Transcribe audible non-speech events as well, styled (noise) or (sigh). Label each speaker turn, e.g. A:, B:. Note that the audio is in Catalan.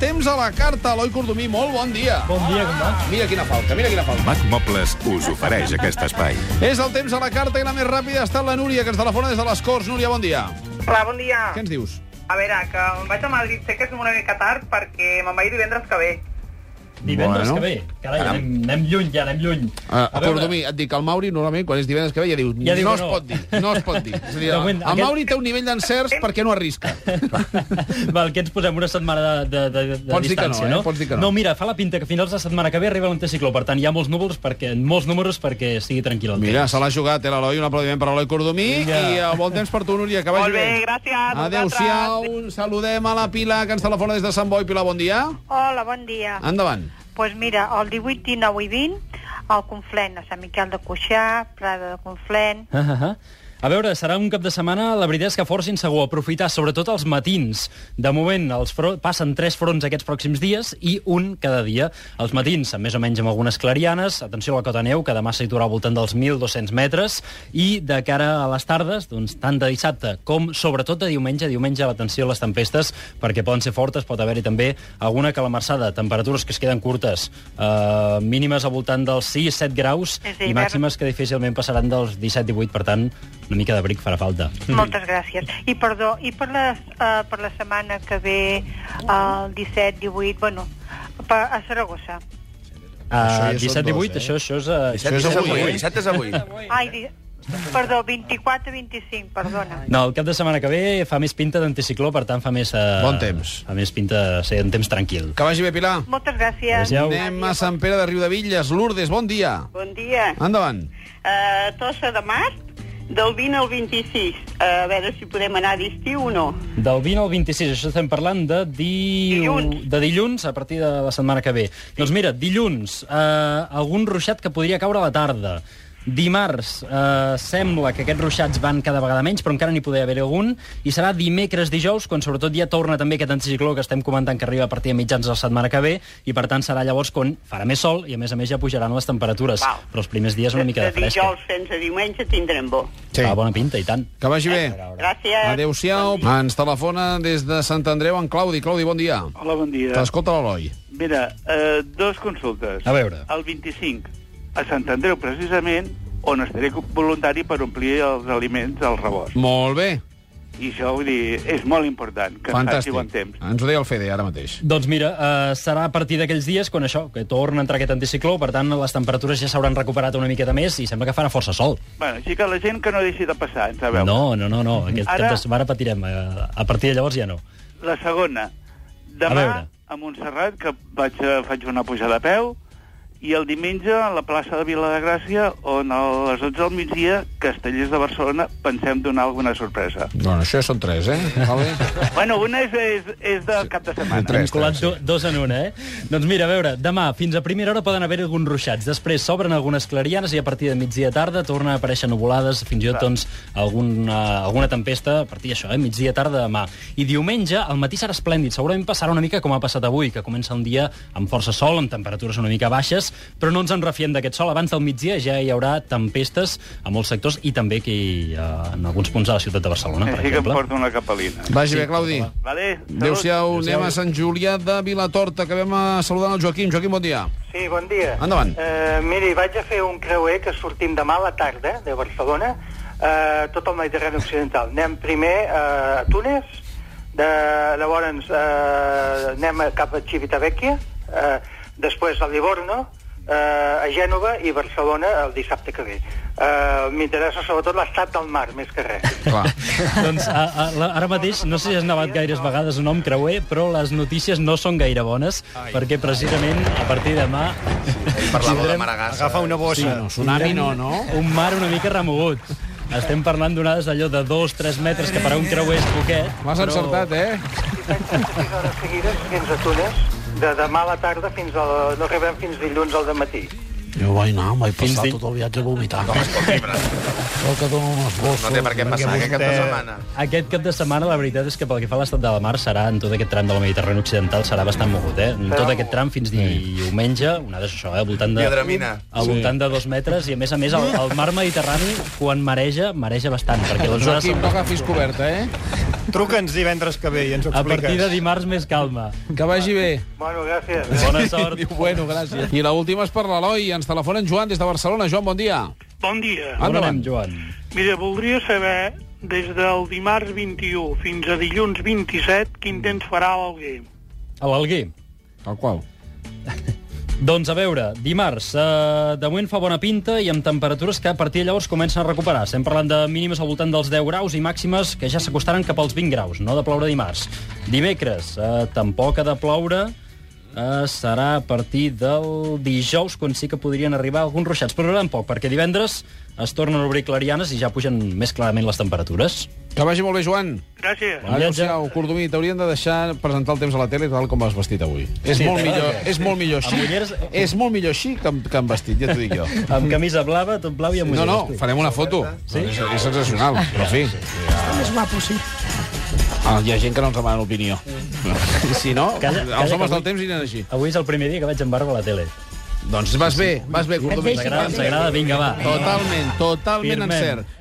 A: Temps a la carta, Eloi Cordomí, molt bon dia.
B: Bon dia, com va?
A: Mira quina falca, mira quina falca.
C: Mac Mobles us ofereix aquest espai.
A: És el temps a la carta i la més ràpida ha estat la Núria, que ens telefona des de les Corts. Núria, bon dia.
D: Hola, bon dia.
A: Què ens dius?
D: A veure, que em vaig a Madrid, sé que és una mica tard perquè me'n vaig divendres que ve.
B: Divendres
A: Bueno.
B: que ve. Carai,
A: Caram.
B: anem, anem lluny, ja, anem lluny.
A: Uh,
B: A veure,
A: Cordomí, et dic, el Mauri normalment quan és divendres que ve ja diu,
B: Ja diu
A: no
B: que
A: es
B: no."
A: pot dir, no es pot dir.
B: (laughs)
A: És a dir,
B: De
A: el,
B: moment,
A: el
B: aquest-
A: Mauri té un nivell d'encerts perquè no arrisca.
B: (laughs) Val, que ens posem una setmana de, de, de, de
A: Pots dir que no,
B: distància,
A: eh? Pots dir que no.
B: No, mira, fa la pinta que a finals de setmana que ve arriba l'anticicló, per tant, hi ha molts núvols perquè molts números perquè sigui tranquil el temps.
A: Mira, se l'ha jugat, eh, l'Eloi, un aplaudiment per l'Eloi Cordomí
B: Vinga.
A: i uh, bon temps per tu, Núria, que vagi
D: Molt bé, gràcies.
A: Adéu-siau, saludem a la Pilar, que ens telefona des de Sant Boi. Pilar, bon dia.
E: Hola, bon dia. Doncs
A: Endavant.
E: pues mira, el 18, 19 i 20, al Conflent, a Sant Miquel de Cuixà, Prada
A: (laughs)
E: de Conflent...
B: Ah, ah, ah. A veure, serà un cap de setmana, la veritat és que força insegur. Aprofitar, sobretot els matins. De moment, els fro- passen tres fronts aquests pròxims dies i un cada dia. Els matins, amb més o menys amb algunes clarianes, atenció a la cota neu, que demà s'hi al voltant dels 1.200 metres, i de cara a les tardes, doncs, tant de dissabte com sobretot de diumenge, diumenge l'atenció a les tempestes, perquè poden ser fortes, pot haver-hi també alguna calamarsada, temperatures que es queden curtes, eh, mínimes al voltant dels 6-7 graus
E: És
B: i
E: d'hivern.
B: màximes que difícilment passaran dels 17-18, per tant, una mica d'abric farà falta.
E: Moltes gràcies. I perdó, i per la, uh, per la setmana que ve, el 17, 18, bueno, per, a Saragossa.
A: Això ja
B: Uh,
A: són
B: 17-18,
A: dos, eh?
B: això, això és... Uh,
A: Això és avui, eh?
F: Dissabte és avui.
E: Ai, di... perdó, 24, 25, perdona.
B: No, el cap de setmana que ve fa més pinta d'anticicló, per tant fa més... Uh,
A: Bon temps.
B: Fa més pinta de ser un temps tranquil.
A: Que vagi bé, Pilar.
E: Moltes gràcies.
B: Adéu.
A: Anem a Ah. Sant Pere de Riudevilles. Lourdes, bon dia.
G: Bon dia.
A: Endavant.
G: Uh, Tossa de Mar, del 20 al 26. Uh, a veure si podem anar d'estiu o no.
B: Del 20 al 26, això estem parlant de, di...
G: Dilluns.
B: de dilluns a partir de la setmana que ve. Doncs mira, dilluns, eh, algun ruixat que podria caure a la tarda. Dimarts eh, sembla que aquests ruixats van cada vegada menys, però encara n'hi podria haver algun, i serà dimecres, dijous, quan sobretot ja torna també aquest anticicló que estem comentant que arriba a partir de mitjans de la setmana que ve, i per tant serà llavors quan farà més sol i a més a més ja pujaran les temperatures.
G: Val.
B: Però els primers dies una mica de
G: de
B: fresca.
G: dijous fins a diumenge tindrem bo.
A: Sí.
B: Fa bona pinta, i tant.
A: Que vagi bé.
H: eh?
G: Gràcies.
A: Adéu-siau. Ens telefona des de Sant Andreu en Claudi. Claudi, bon dia.
H: Hola, bon dia.
A: T'escolta l'Eloi.
H: Mira, eh, dos consultes.
B: A veure.
H: El 25, a Sant Andreu, precisament, on estaré voluntari per omplir els aliments al rebost.
A: Molt bé.
H: I això, vull dir, és molt important, que
A: Fantàstic.
H: faci bon temps.
A: Ens ho deia el Fede ara mateix.
B: Doncs mira, eh, serà a partir d'aquells dies quan això, que torna a entrar aquest anticicló, per tant, les temperatures ja s'hauran recuperat una miqueta més i sembla que farà força sol.
H: Bueno, així que la gent que no deixi de passar, ens a veure.
B: No, no, no, no. Aquest
H: Ara-
B: cap de setmana patirem. eh, A partir de llavors ja no.
H: La segona,
B: A
H: demà
B: veure.
H: a, Montserrat, que vaig, a- faig una pujada a peu, i el diumenge a la plaça de Vila de Gràcia, on a les 12 del migdia, Castellers de Barcelona, pensem donar alguna sorpresa.
A: Bueno, això ja són tres, eh? Vale.
H: Bueno, una és, és, és del cap de setmana.
A: Tres,
B: Hem colat
A: tres,
B: do, dos en una, eh? Doncs mira, a veure, demà fins a primera hora poden haver alguns ruixats, després s'obren algunes clarianes i a partir de migdia tarda torna a aparèixer nuvolades, fins i tot doncs, alguna, alguna tempesta a partir d'això, eh? migdia tarda demà. I diumenge al matí serà esplèndid, segurament passarà una mica com ha passat avui, que comença un dia amb força sol, amb temperatures una mica baixes, però no ens en refiem d'aquest sol. Abans del migdia ja hi haurà tempestes a molts sectors i també aquí eh, en alguns punts de la ciutat de Barcelona, per
H: Així que em
B: exemple.
H: porto una capelina.
A: Vagi bé, Claudi.
H: Vale? Salut.
A: Adéu-siau. Anem a Sant Julià de Vilatorta, que vam a saludar el Joaquim. Joaquim, bon dia.
D: Sí, bon dia.
A: Endavant.
D: Eh, miri, vaig a fer un creuer que sortim demà a la tarda de Barcelona, eh, tot el Mediterrani Occidental. Anem primer eh, a Túnez, de, llavors eh, anem cap a Civitavecchia, eh, després a Livorno, eh, a Gènova i Barcelona el dissabte que ve. Eh, M'interessa sobretot l'estat del mar, més que res.
A: Clar.
B: (laughs) doncs a, a, la- ara mateix, no sé si has nevat gaires vegades un nom creuer, però les notícies no són gaire bones, ai, perquè precisament a partir de demà
F: Parlàvem de Maragassa. Agafa una bossa.
A: No, tsunami no, no?
B: un mar una mica remogut. Estem parlant d'onades d'allò de 2-3 metres, que per a un creuer és poquet.
A: M'has
B: però-
A: encertat, eh?
D: I penso que sis hores seguides fins a Túnez, de demà a la tarda fins a... no arribem fins dilluns al matí.
I: Jo vaig anar, em vaig
B: Fins
I: passar
B: di-
I: tot el viatge vomitant.
F: Com es pot dir, però
I: (laughs) Sóc que dono unes bosses.
F: No té per què passar aquest cap de setmana.
B: Aquest cap de setmana, la veritat és que pel que fa a l'estat de la mar, serà en tot aquest tram de la Mediterrània Occidental, serà bastant mogut, eh? En tot aquest tram fins diumenge, onades això, eh? Al voltant de...
F: Diadramina.
B: al voltant de dos metres, i a més a més el, el mar Mediterrani, quan mareja, mareja bastant, perquè les onades
A: Joaquim,
B: són...
A: no agafis coberta, eh?
J: Truca'ns divendres que ve i ens ho
B: A partir de
J: expliques.
B: dimarts més calma.
A: Que vagi bé.
D: Bueno, gràcies.
B: Bona
A: (laughs)
B: sort.
A: Bueno, gràcies. I l'última és per l'Eloi. Ens telefona en Joan des de Barcelona. Joan, bon dia.
K: Bon dia.
B: On
A: Endavant.
B: anem, Joan?
K: Mira, voldria saber, des del dimarts 21 fins a dilluns 27, quin temps farà l'Alguer.
B: A l'Alguer.
A: Tal qual.
B: Doncs a veure, dimarts, eh, de moment fa bona pinta i amb temperatures que a partir de llavors comencen a recuperar. Estem parlant de mínimes al voltant dels 10 graus i màximes que ja s'acostaran cap als 20 graus, no de ploure dimarts. Dimecres, eh, tampoc ha de ploure, eh, serà a partir del dijous, quan sí que podrien arribar alguns ruixats, però tampoc, perquè divendres es tornen a obrir clarianes i ja pugen més clarament les temperatures.
A: Que vagi molt bé, Joan.
K: Gràcies.
B: Bon viatge.
A: Adéu-siau, Cordomí. T'haurien de deixar presentar el temps a la tele tal com vas vestit avui. És,
B: Sí,
A: molt,
B: t'agrada?
A: millor, és molt millor així.
B: Amb ulleres-
A: És molt millor així que amb, que amb vestit, ja t'ho dic jo.
B: Amb camisa blava, tot blau i amb
A: No,
B: ulleres.
A: no, farem una foto. Sí? És, és sensacional, però en fi.
I: Està més guapo, sí.
A: Ah, hi ha gent que no ens demana opinió. Si no,
B: Calla, calla,
A: els homes
B: que
A: del temps aniran així.
B: Avui és el primer dia que vaig amb barba a la tele.
A: Doncs vas bé, vas bé, Cordomí.
B: Ens agrada, ens agrada, vinga, va.
A: Totalment, totalment
B: Firmem.
A: encert.